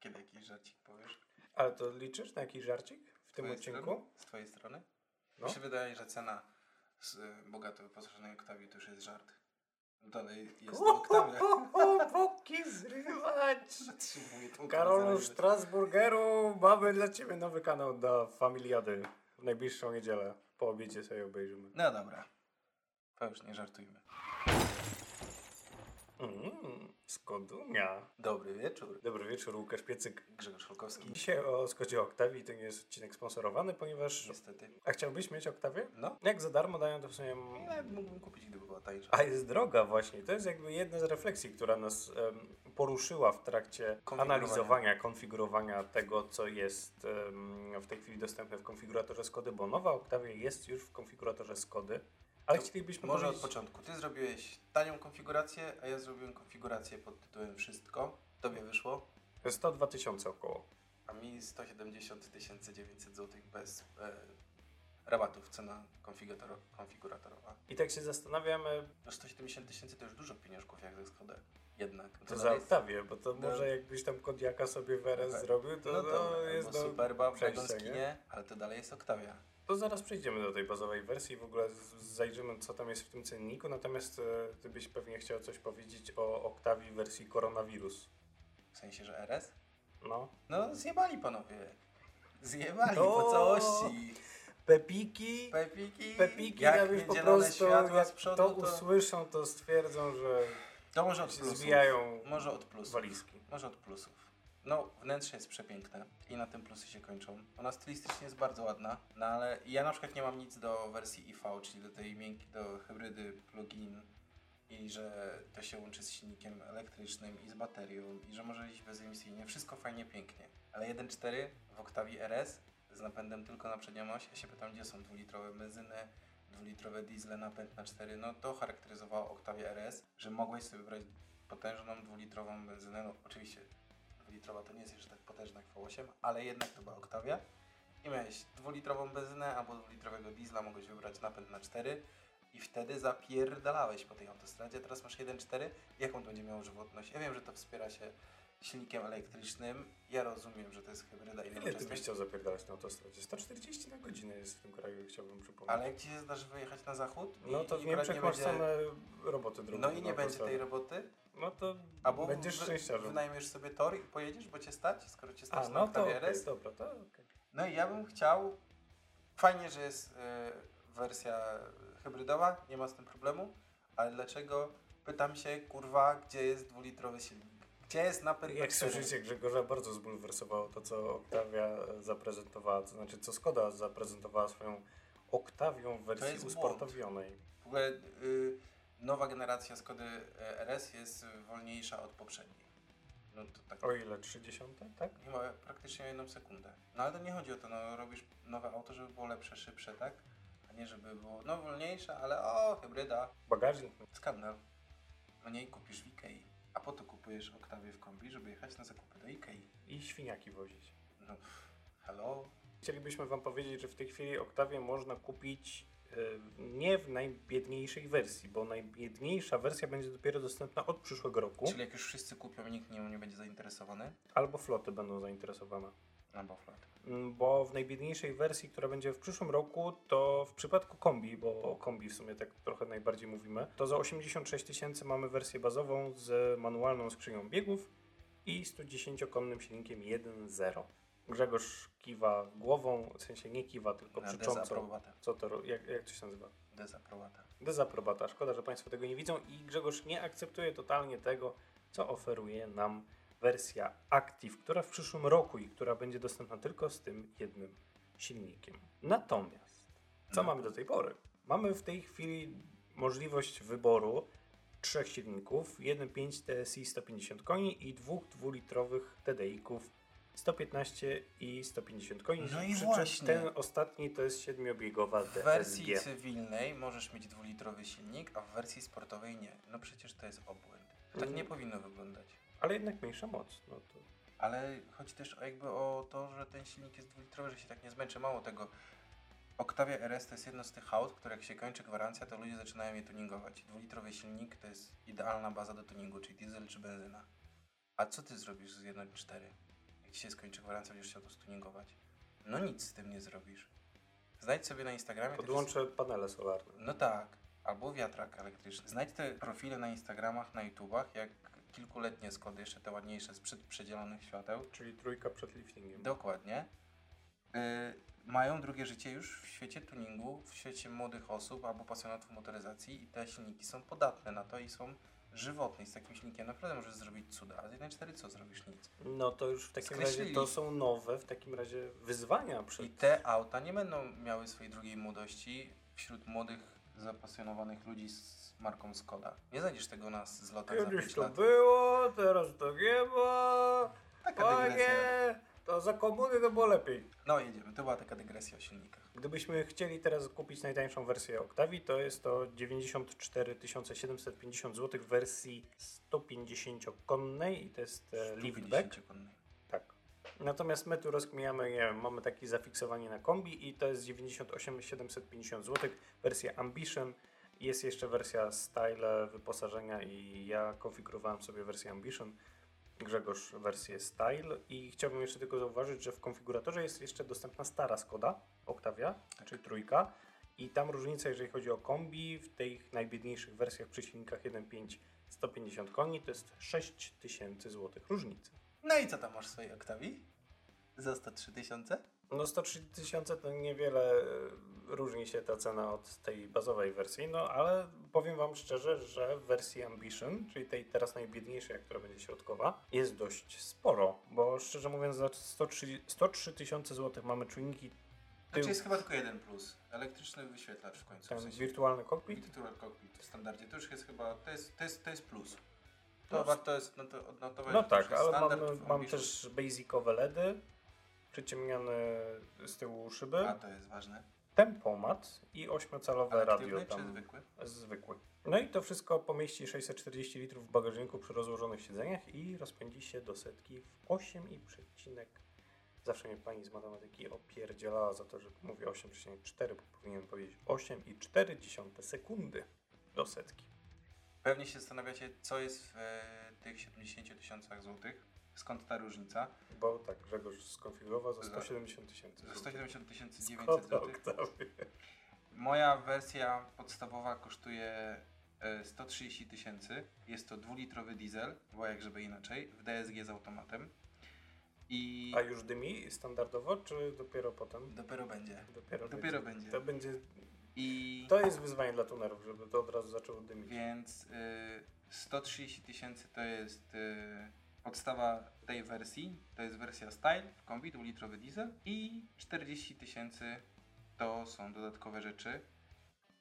Kiedy jakiś żarcik powiesz? Ale to liczysz na jakiś żarcik w tym twojej odcinku? Strony? Z twojej strony? No. Mi się wydaje, że cena z y, bogato wyposażonej oktawi to już jest żart. Dalej jest to oktawia. Boki zrywać! Zatrzymuje tą Karolu kancelarię. Strasburgeru, mamy dla Ciebie nowy kanał dla Familiady w najbliższą niedzielę. Po obiedzie sobie obejrzymy. No dobra. To już nie żartujmy. Mm, Skodumia. Dobry wieczór. Dobry wieczór, Łukasz Piecyk. Grzegorz Szulkowski. Dzisiaj o Skodzie Oktawii to nie jest odcinek sponsorowany, ponieważ... Niestety. A chciałbyś mieć Oktawię? No. Jak za darmo dają to w sumie... Ile mógłbym kupić, gdyby była tańsza? A jest droga właśnie. To jest jakby jedna z refleksji, która nas em, poruszyła w trakcie Konfigurowania. analizowania, konfigurowania tego, co jest em, w tej chwili dostępne w konfiguratorze Skody, bo nowa Octavia jest już w konfiguratorze Skody, ale To chcielibyśmy Może od powiedzieć... początku. Ty zrobiłeś tanią konfigurację, a ja zrobiłem konfigurację pod tytułem Wszystko. Tobie wyszło, 102 tysiące około. a mi 170 900 zł bez e, rabatów cena konfigurator, konfiguratorowa. I tak się zastanawiamy, No 170 tysięcy to już dużo pieniążków jak ze Skodę. Jednak. No to za dalej jest- Octavię, bo to No. może jakbyś tam Kodiaka sobie w RS Okej. zrobił, to No no to jest do... Superba, w przejścia, Wagonskinie, ale to dalej jest Oktawia. To zaraz przejdziemy do tej bazowej wersji i w ogóle z- zajrzymy, co tam jest w tym cenniku. Natomiast e, ty byś pewnie chciał coś powiedzieć o Octavii wersji koronawirus. W sensie, że RS? No. No zjebali panowie. Zjebali No. po całości. Pepiki, Pepiki, pepiki, jak jakbyś po zielone prostu, światła jak z przodu, to, to usłyszą, to stwierdzą, że to może od się plusów. zwijają Może od plusów. walizki. Może od plusów. No, wnętrze jest przepiękne i na tym plusy się kończą. Ona stylistycznie jest bardzo ładna, no ale ja na przykład nie mam nic do wersji IV, czyli do tej miękkiej, do hybrydy plug-in i że to się łączy z silnikiem elektrycznym i z baterią i że może iść bezemisyjnie. Wszystko fajnie, pięknie. Ale 1.4 w Octavii RS z napędem tylko na przednią oś, ja się pytam, gdzie są dwulitrowe benzyny, dwulitrowe diesle, napęd na 4, no to charakteryzowało Octavię RS, że mogłeś sobie wybrać potężną dwulitrową benzynę, no oczywiście dwulitrowa to nie jest jeszcze tak potężna jak V8, ale jednak to była Octavia. I miałeś dwulitrową benzynę albo dwulitrowego diesla, mogłeś wybrać napęd na 4 i wtedy zapierdalałeś po tej autostradzie. Teraz masz 1.4, jaką to będzie miało żywotność? Ja wiem, że to wspiera się silnikiem elektrycznym, ja rozumiem, że to jest hybryda i Ile ty byś nowoczesność. chciał zapierdalać na autostradzie? 140 na godzinę jest w tym kraju, chciałbym przypomnieć. Ale jak ci się zdarzy wyjechać na zachód No to w Niemczech masz same roboty drogowe. no i na nie będzie autostradzie. tej roboty, No to albo będziesz wy- szczęściarzem. wynajmiesz sobie tor i pojedziesz, bo cię stać, skoro cię stać na A, no to Octavia okej, RS. dobra, to okej. No i ja bym chciał. Fajnie, że jest y, wersja hybrydowa, nie ma z tym problemu, ale dlaczego? Pytam się, kurwa, gdzie jest dwulitrowy silnik? Gdzie jest napęd na Jak cztery? słyszycie, Grzegorza bardzo zbulwersowało to, co Oktawia e, zaprezentowała, to znaczy co Skoda zaprezentowała swoją Oktawią w jest wersji błąd. usportowionej. W ogóle y, nowa generacja Skody y, RS jest y, wolniejsza od poprzedniej. No to tak. O ile 30, tak? Chyba praktycznie o jedną sekundę. No ale to nie chodzi o to, no robisz nowe auto, żeby było lepsze, szybsze, tak? A nie żeby było, no wolniejsze, ale o, hybryda. Bagażnik. Skandal. Mniej kupisz w Ikei. A po to kupujesz Oktawię w kombi, żeby jechać na zakupy do Ikei. I świniaki wozić. No, pff, hello? Chcielibyśmy Wam powiedzieć, że w tej chwili Oktawię można kupić e, nie w najbiedniejszej wersji, bo najbiedniejsza wersja będzie dopiero dostępna od przyszłego roku, Czyli jak już wszyscy kupią, nikt nią nie będzie zainteresowany? albo floty będą zainteresowane. Albo flot. Mm, bo w najbiedniejszej wersji, która będzie w przyszłym roku, to w przypadku kombi, bo o kombi w sumie tak trochę najbardziej mówimy, to za 86 tysięcy mamy wersję bazową z manualną skrzynią biegów i 110-konnym silnikiem 1.0. Grzegorz kiwa głową, w sensie nie kiwa, tylko Na krzycząco. dezaprobatę. Co to, ro- jak, jak to się nazywa? Dezaprobatę. Dezaprobata. Szkoda, że Państwo tego nie widzą i Grzegorz nie akceptuje totalnie tego, co oferuje nam wersja Active, która w przyszłym roku i która będzie dostępna tylko z tym jednym silnikiem. Natomiast, co No. mamy do tej pory? Mamy w tej chwili możliwość wyboru trzech silników, 1.5 TSI 150 koni i dwóch dwulitrowych TDI-ków 115 i 150 koni. No i Przy czym właśnie. Ten ostatni to jest siedmiobiegowa W DSG. wersji cywilnej możesz mieć dwulitrowy silnik, a w wersji sportowej nie. No przecież to jest obłęd. Tak Mm. nie powinno wyglądać. Ale jednak mniejsza moc. No to... Ale chodzi też o jakby o to, że ten silnik jest dwulitrowy, że się tak nie zmęczy. Mało tego, Octavia RS to jest jedno z tych aut, które jak się kończy gwarancja, to ludzie zaczynają je tuningować. Dwulitrowy silnik to jest idealna baza do tuningu, czyli diesel czy benzyna. A co ty zrobisz z 1.4? jak ci się skończy gwarancja, będziesz chciał to stuningować. No nic z tym nie zrobisz. Znajdź sobie na Tak, Instagramie... takie- Podłączę panele solarne. No tak, albo wiatrak elektryczny. Znajdź te profile na Instagramach, na YouTubach, jak kilkuletnie Skody, jeszcze te ładniejsze sprzed przedzielonych świateł. Czyli trójka przed liftingiem. Dokładnie. Yy, mają drugie życie już w świecie tuningu, w świecie młodych osób albo pasjonatów motoryzacji i te silniki są podatne na to i są żywotne. I z takim silnikiem naprawdę możesz zrobić cuda, a z 1.4 co zrobisz? Nic. No to już w takim razie Skreślili. to są nowe w takim razie wyzwania przed... I te auta nie będą miały swojej drugiej młodości wśród młodych, zapasjonowanych ludzi z marką Skoda. Nie znajdziesz tego na z- zlotach za Kiedyś 5 to lat. było, teraz to nie ma. Taka dygresja. Panie, to za komuny to było lepiej. No jedziemy, to była taka dygresja o silnikach. Gdybyśmy chcieli teraz kupić najtańszą wersję Octavii, to jest to 94 750 zł w wersji 150-konnej i to jest e, liftback. 150-konnej. Tak. Natomiast my tu rozkmijamy, nie wiem, mamy takie zafiksowanie na kombi i to jest 98 750 zł, wersja Ambition. Jest jeszcze wersja Style wyposażenia i ja konfigurowałem sobie wersję Ambition, Grzegorz wersję Style i chciałbym jeszcze tylko zauważyć, że w konfiguratorze jest jeszcze dostępna stara Skoda Octavia, czyli trójka i tam różnica jeżeli chodzi o kombi w tych najbiedniejszych wersjach przy silnikach 1.5 150 koni to jest 6000 zł różnicy. No i co tam masz w swojej Octavii? Za 103 tysiące? No 103 tysiące to niewiele e, różni się ta cena od tej bazowej wersji, no ale powiem Wam szczerze, że w wersji Ambition, czyli tej teraz najbiedniejszej, która będzie środkowa, jest dość sporo, bo szczerze mówiąc za 103 103 tysiące złotych mamy czujniki Znaczy tył, jest chyba tylko jeden plus. Elektryczny wyświetlacz w końcu. ten W sensie wirtualny kokpit. Virtual Cockpit w standardzie. To już jest chyba, to jest, to jest, to jest plus. To No, warto jest no to odnotować. No że to już tak, jest ale standard mamy, w mam Ambition. też basicowe LEDy, przyciemniane z tyłu szyby, A to jest ważne. tempomat i 8-calowe radio Aktywny tam. czy zwykły? zwykły. No i to wszystko pomieści 640 litrów w bagażniku przy rozłożonych siedzeniach i rozpędzi się do setki w 8 i przecinek. Zawsze mnie pani z matematyki opierdzielała za to, że mówię 8,4, bo powinienem powiedzieć 8,4 sekundy do setki. Pewnie się zastanawiacie, co jest w e, tych 70 tysiącach złotych. Skąd ta różnica? Bo tak Grzegorz skonfigurował za Za- 170 tysięcy. Za 170 900 Skoda złotych. Octavia. Moja wersja podstawowa kosztuje e, 130 tysięcy. Jest to dwulitrowy diesel, bo jak żeby inaczej, w DSG z automatem. I A już dymi standardowo, czy dopiero potem? dopiero będzie. Dopiero, Dopiero będzie. To będzie. I To jest wyzwanie dla tunerów, żeby to od razu zaczęło dymić. więc y, 130 tysięcy to jest y, podstawa tej wersji. To jest wersja Style w kombi, dwulitrowy diesel. I 40 tysięcy to są dodatkowe rzeczy.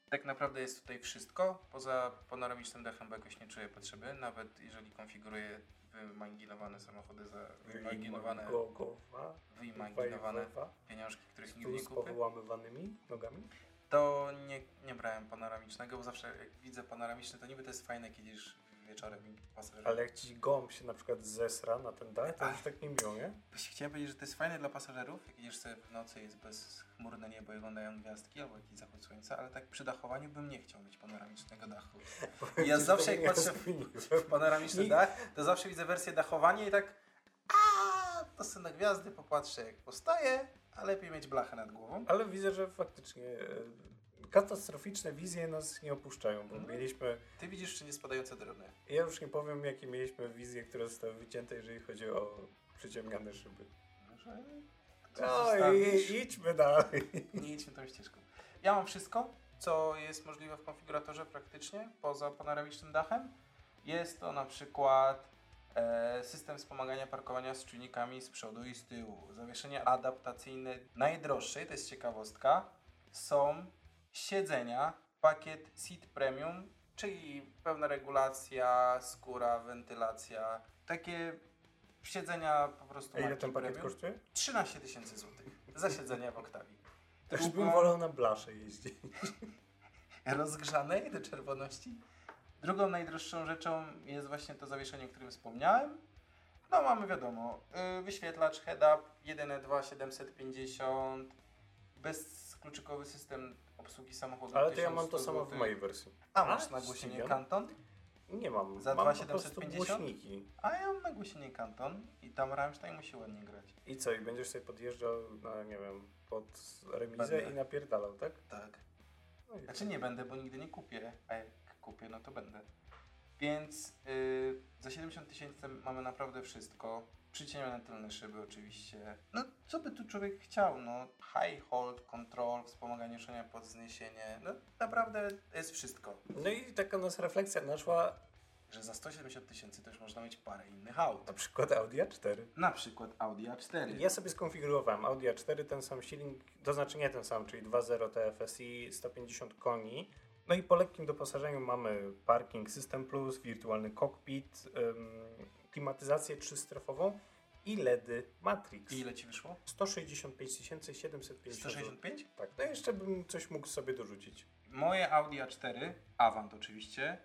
Tak naprawdę jest tutaj wszystko. Poza panoramicznym dachem, bo jakoś nie czuję potrzeby. Nawet jeżeli konfiguruję wymaginowane samochody za wymaginowane, Gogowa. wyimaginowane Wajwowa, pieniążki, których nigdy Tu nie z kupię. powyłamywanymi nogami? To nie, nie brałem panoramicznego, bo zawsze jak widzę panoramiczny, to niby to jest fajne, jak jedziesz wieczorem i pasażerem. Ale jak ci gąb się na przykład zesra na ten dach, to Ach. już tak nie miło, nie? Właśnie Chciałem powiedzieć, że to jest fajne dla pasażerów, jak jedziesz sobie w nocy, jest bezchmurne niebo i oglądają gwiazdki albo jakiś zachód słońca, ale tak przy dachowaniu bym nie chciał mieć panoramicznego dachu. Powiem Ja ci, że zawsze to jak nie patrzę- rozkminiłem. Panoramiczny Nie. dach, to zawsze widzę wersję dachowania i tak a to sobie na gwiazdy popatrzę jak postaje, a lepiej mieć blachę nad głową. Ale widzę, że faktycznie e, katastroficzne wizje nas nie opuszczają, bo No. mieliśmy, Ty widzisz czy nie spadające drobne? ja już nie powiem jakie mieliśmy wizje, które zostały wycięte, jeżeli chodzi o przyciemniane szyby. Może... to No i zostawisz? idźmy dalej. Nie idźmy tą ścieżką. Ja mam wszystko, co jest możliwe w konfiguratorze praktycznie, poza panoramicznym dachem. Jest to na przykład e, system wspomagania parkowania z czujnikami z przodu i z tyłu. Zawieszenie adaptacyjne najdroższe, to jest ciekawostka, są siedzenia, pakiet Seat Premium, czyli pełna regulacja, skóra, wentylacja, takie siedzenia po prostu A ile marki ten pakiet premium. kosztuje? 13 tysięcy złotych za siedzenie w Oktawii. Już bym Długo- wolał na blasze jeździć. rozgrzanej do czerwoności. Drugą najdroższą rzeczą jest właśnie to zawieszenie, o którym wspomniałem. No mamy wiadomo, yy, wyświetlacz head-up 1.2.750, bezkluczykowy system obsługi samochodu. Ale to ja mam to 1100 samo w złotych. mojej wersji. A masz A, nagłośnienie ścigam. Kanton? Nie mam. Za mam po 2750? prostu głośniki. A ja mam na głośnienie Kanton i tam Rammstein musi ładnie grać. I co, i będziesz sobie podjeżdżał, na, nie wiem, pod remizę Będę. i napierdalał, tak? Tak. No i Znaczy nie będę, bo nigdy nie kupię, a jak kupię, no to będę. Więc y, za 70 tysięcy mamy naprawdę wszystko. Przyciemnione tylne szyby oczywiście. No co by tu człowiek chciał, no high hold, control, wspomaganie ruszenia pod zniesienie, no naprawdę jest wszystko. No i taka nas refleksja naszła, Że za 170 tysięcy też można mieć parę innych aut. na przykład Audi A4. Na przykład Audi A4. Ja sobie skonfigurowałem Audi A4, ten sam silnik, to znaczy nie ten sam, czyli 2.0 TFSI, 150 koni. No i po lekkim doposażeniu mamy parking System Plus, wirtualny kokpit, ym, klimatyzację trzystrefową i LEDy y Matrix. I E ile ci wyszło? 165 750 zł. 165? Tak, no jeszcze bym coś mógł sobie dorzucić. Moje Audi A4, Avant oczywiście,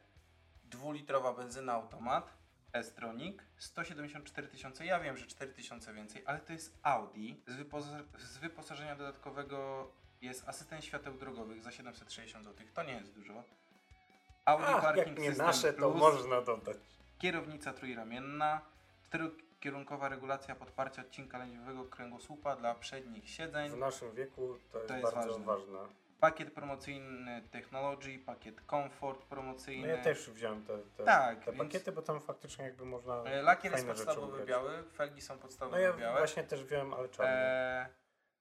dwulitrowa benzyna automat, S-Tronic, 174 tysiące, ja wiem, że 4 tysiące więcej, ale to jest Audi, z, wyposa- z wyposażenia dodatkowego jest asystent świateł drogowych za 760 zł, to nie jest dużo. Audi A, Parking jak nie System nasze, to Plus, można dodać. kierownica trójramienna, czterokierunkowa regulacja podparcia odcinka lędźwiowego kręgosłupa dla przednich siedzeń. W naszym wieku to jest, jest bardzo ważne. ważne. Pakiet promocyjny Technology, pakiet Komfort No promocyjny. ja też wziąłem te, te, Tak, te więc- pakiety, bo tam faktycznie jakby można. E, Lakier jest fajne rzeczy podstawowy ubrać. biały, felgi są No podstawowe ja białe. właśnie też wziąłem, ale czarny. E,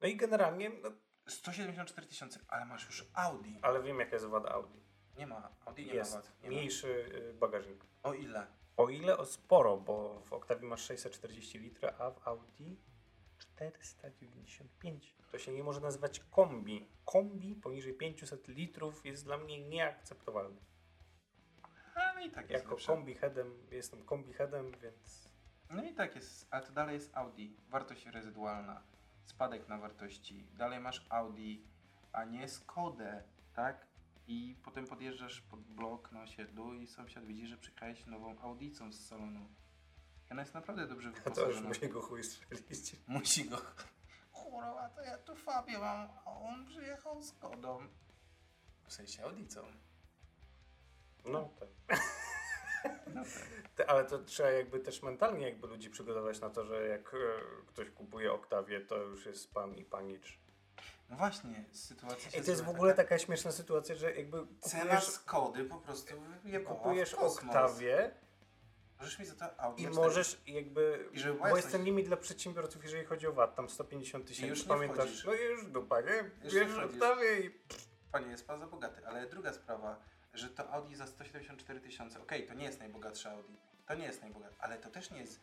No i generalnie, no, 174 tysiące, ale masz już Audi. ale wiem jaka jest wada Audi. Nie ma, Audi nie Jest ma wad. Nie ma. mniejszy y, bagażnik. O ile? O ile o sporo, bo w Octavii masz 640 litrów, a w Audi 495. To się nie może nazywać kombi. Kombi poniżej 500 litrów jest dla mnie nieakceptowalne. Ale i tak jest Jako lepsze. kombi headem, jestem kombi headem, więc No i tak jest, ale to dalej jest Audi. Wartość rezydualna, spadek na wartości. Dalej masz Audi, a nie Skodę, tak? I potem podjeżdżasz pod blok na osiedlu i sąsiad widzi, że przykrajesz nową Audicą z salonu. I Ona jest naprawdę dobrze to już wyposażona. mu się go chuj strzeliście. Musi go. Kurwa, to ja tu Fabio mam, a on przyjechał z Kodą. W sensie Audicą. No tak. No tak. Te- Ale to trzeba jakby też mentalnie jakby ludzi przygotować na to, że jak e, ktoś kupuje Oktawię, to już jest pan i panicz. No właśnie, sytuacja się I to jest w zrobiła ogóle taka- taka śmieszna sytuacja, że jakby Cena kupujesz, z Kody po prostu nie kupujesz Oktawię Możesz mi za to Audi i A4. możesz jakby, I żeby była bo jest jasność. ten limit dla przedsiębiorców, jeżeli chodzi o VAT, tam 150 I już tysięcy, nie pamiętasz? wchodzisz. No i już dupa, nie? nie Bierzesz wchodzisz. Oktawię i Panie, jest pan za bogaty, ale druga sprawa, że to Audi za 174 tysiące, okej, to nie jest najbogatsze Audi, to nie jest najbogatsze, ale to też nie jest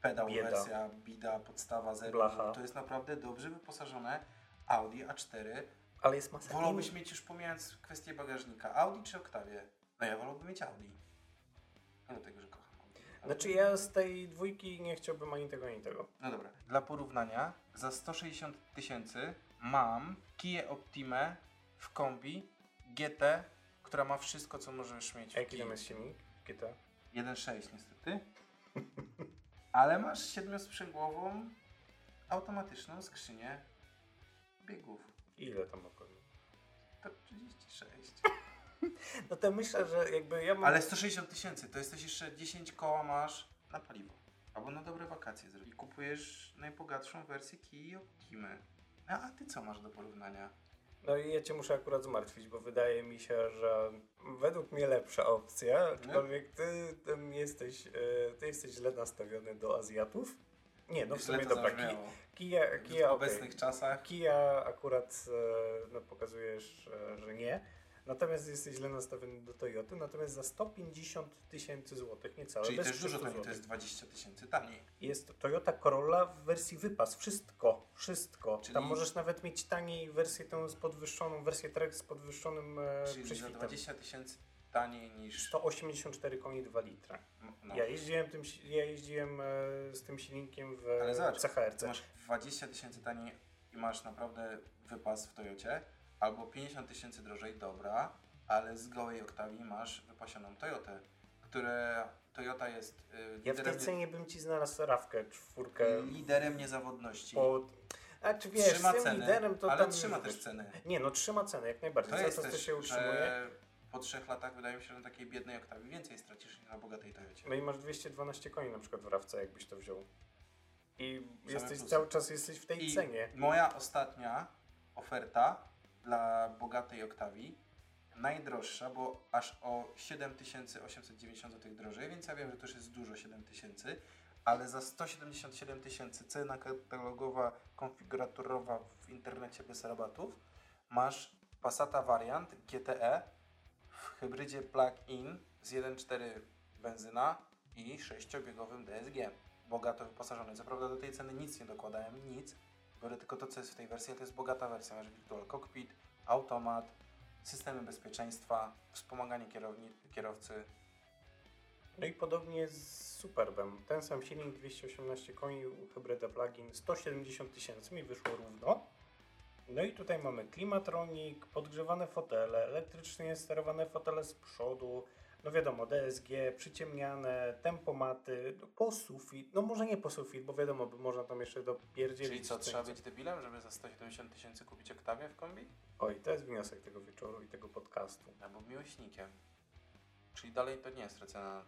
pedał Bieda. wersja, bida, podstawa, zero, Blacha. to jest naprawdę dobrze wyposażone Audi A4, ale jest masa Wolałbyś innych. mieć już pomijając kwestię bagażnika Audi czy Octavię? No ja wolałbym mieć Audi. Nie do tego, że kocham Audi. Znaczy ja z tej dwójki nie chciałbym ani tego, ani tego. No dobra. Dla porównania za 160 tysięcy mam Kia Optimę w kombi GT, która ma wszystko co możesz mieć A w jaki Kii. tam jest silnik? Kita? 1.6 niestety. Ale masz siedmiosprzęgłową automatyczną skrzynię biegów. Ile tam około? To 36. No to myślę, że jakby ja mam... Ale 160 tysięcy, to jesteś jeszcze 10 koła masz na paliwo. Albo na dobre wakacje zrobić. I kupujesz najbogatszą wersję Kii Optimy. A, a ty co masz do porównania? No i ja cię muszę akurat zmartwić, bo wydaje mi się, że według mnie lepsza opcja, aczkolwiek ty, ty jesteś, e, ty jesteś źle nastawiony do Azjatów. Nie, no w Źle sumie to dobra, ki, zabrzmiało. Kia, Kia, W okej. obecnych czasach. Kia akurat e, no, pokazujesz, e, że nie. Natomiast jesteś źle nastawiony do Toyoty, natomiast za 150 tysięcy złotych, niecałe, Czyli to bez jest dużo 300 taniej, to złotych, jest 20 tysięcy taniej. jest Toyota Corolla w wersji wypas. Wszystko, wszystko. Czyli- Tam możesz nawet mieć taniej wersję tę z podwyższoną, wersję Trek z podwyższonym e, Czyli za prześwitem. 20 tysięcy taniej niż... 184 koni 2 litra. No. Ja jeździłem, tym, si- ja jeździłem e, z tym silnikiem w Ale zobacz, CHRC. Ty masz 20 tysięcy taniej i masz naprawdę wypas w Toyocie, albo 50 tysięcy drożej, dobra, ale z gołej Oktawii masz wypasioną Toyotę, które Toyota jest y, Ja w tej liderem, cenie bym ci znalazł rawkę, czwórkę. liderem niezawodności. Pod... A czy wiesz, trzyma z tym ceny, liderem to ale tam trzyma już też wiesz. ceny. Nie no, trzyma cenę jak najbardziej. To e, Za jest to, co też, się utrzymuje. że po trzech latach wydaje mi się, że na takiej biednej Oktawii więcej stracisz niż na bogatej Toyocie. No i masz 212 koni na przykład w rawce, jakbyś to wziął. I Same jesteś plusy. cały czas jesteś w tej I cenie. moja ostatnia oferta dla bogatej Oktawii, najdroższa, bo aż o 7890 zł drożej, więc ja wiem, że to już jest dużo 7000, ale za 177 tysięcy cena katalogowa, konfiguratorowa w internecie bez rabatów masz Passata Variant GTE w hybrydzie plug-in z 1.4 benzyna i 6-biegowym DSG. Bogato wyposażony. Co prawda do tej ceny nic nie dokładałem, nic. Biorę tylko to, co jest w tej wersji, a to jest bogata wersja. Masz virtual cockpit, automat, systemy bezpieczeństwa, wspomaganie kierowni, kierowcy. No i podobnie jest z Superbem. Ten sam silnik, 218 koni, hybryda plug-in, 170 tysięcy mi wyszło równo. No i tutaj mamy klimatronik, podgrzewane fotele, elektrycznie sterowane fotele z przodu, no wiadomo, DSG, przyciemniane, tempomaty, no posufit, no może nie posufit, bo wiadomo, by można tam jeszcze dopierdzielić. Czyli co, coś trzeba być debilem, żeby za 170 tysięcy kupić Octavię w kombi? Oj, to jest wniosek tego wieczoru i tego podcastu. Albo miłośnikiem. Czyli dalej to nie jest recena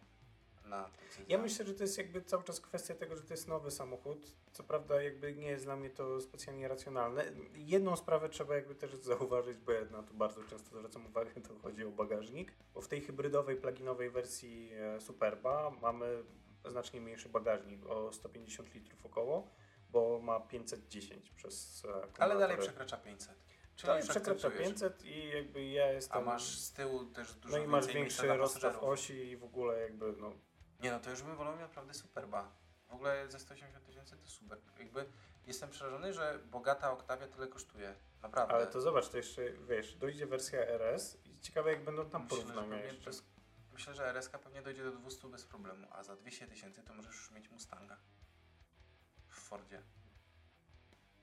na tym Ja sezonie. myślę, że to jest jakby cały czas kwestia tego, że to jest nowy samochód. Co prawda jakby nie jest dla mnie to specjalnie racjonalne. Jedną sprawę trzeba jakby też zauważyć, bo ja na to bardzo często zwracam uwagę, to chodzi o bagażnik. Bo w tej hybrydowej, pluginowej wersji e, Superba mamy znacznie mniejszy bagażnik, o 150 litrów około, bo ma 510 przez e, Ale dalej akumulatory. przekracza 500. Czyli Dalej już przekracza akceptujesz. 500 i jakby ja A jestem... masz z tyłu też dużo No i masz więcej miejsca większy dla rozstaw pasażerów. osi i w ogóle jakby no, Nie no, to już bym wolał miał naprawdę Superba. W ogóle za 180 tysięcy to super. Jakby jestem przerażony, że bogata Oktawia tyle kosztuje. Naprawdę. Ale to zobacz, to jeszcze, wiesz, dojdzie wersja RS i ciekawe jak będą tam myślę, że porównania pewnie jeszcze. bez, myślę, że RSK pewnie dojdzie do 200 bez problemu, a za 200 tysięcy to możesz już mieć Mustanga. W Fordzie.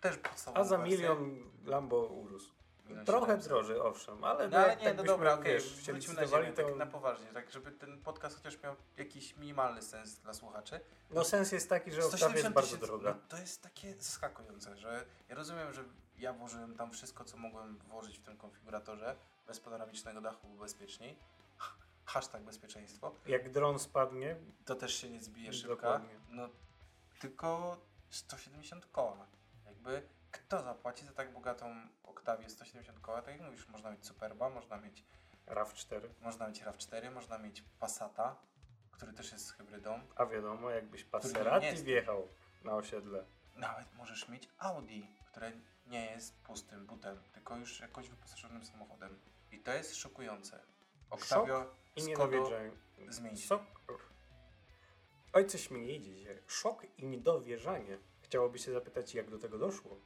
Też podstawową A za wersję. milion Lambo urósł. Minus Trochę 700. droży, owszem, ale No ale jak nie, tak no byśmy, dobra, okej, wiesz, się wróćmy na decydowali, ziemię, to... tak na poważnie, tak żeby ten podcast chociaż miał jakiś minimalny sens dla słuchaczy. No sens jest taki, że Octavia jest 170 bardzo tysięcy- droga. No, to jest takie zaskakujące, że ja rozumiem, że ja włożyłem tam wszystko, co mogłem włożyć w tym konfiguratorze, bez panoramicznego dachu było bezpieczniej. Hashtag bezpieczeństwo. Jak dron spadnie, To też się nie zbije szybka. Dokładnie. No, tylko 170 koła. Jakby kto zapłaci za tak bogatą Oktawię 170 koła? Tak jak mówisz, można mieć Superba, można mieć, RAV4, można mieć RAV4, można mieć Passata, który też jest hybrydą. a wiadomo, jakbyś Który nie Passerati jest. wjechał na osiedle. Nawet możesz mieć Audi, które nie jest pustym butem, tylko już jakoś wyposażonym samochodem. I to jest szokujące. Oktawio I Skodo niedowierzanie. zmieni się. Sok... Oj, coś mi nie idzie dzisiaj. Szok i niedowierzanie. Chciałoby się zapytać, jak do tego doszło.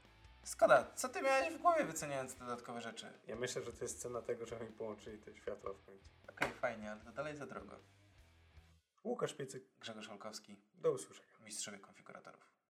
Skoda, co ty miałeś w głowie wyceniając te dodatkowe rzeczy? Ja myślę, że to jest cena tego, że mi połączyli te światła w końcu. Okej, fajnie, ale to dalej za drogo. Łukasz Piecyk, Grzegorz Olkowski, do usłyszenia. mistrzowie konfiguratorów.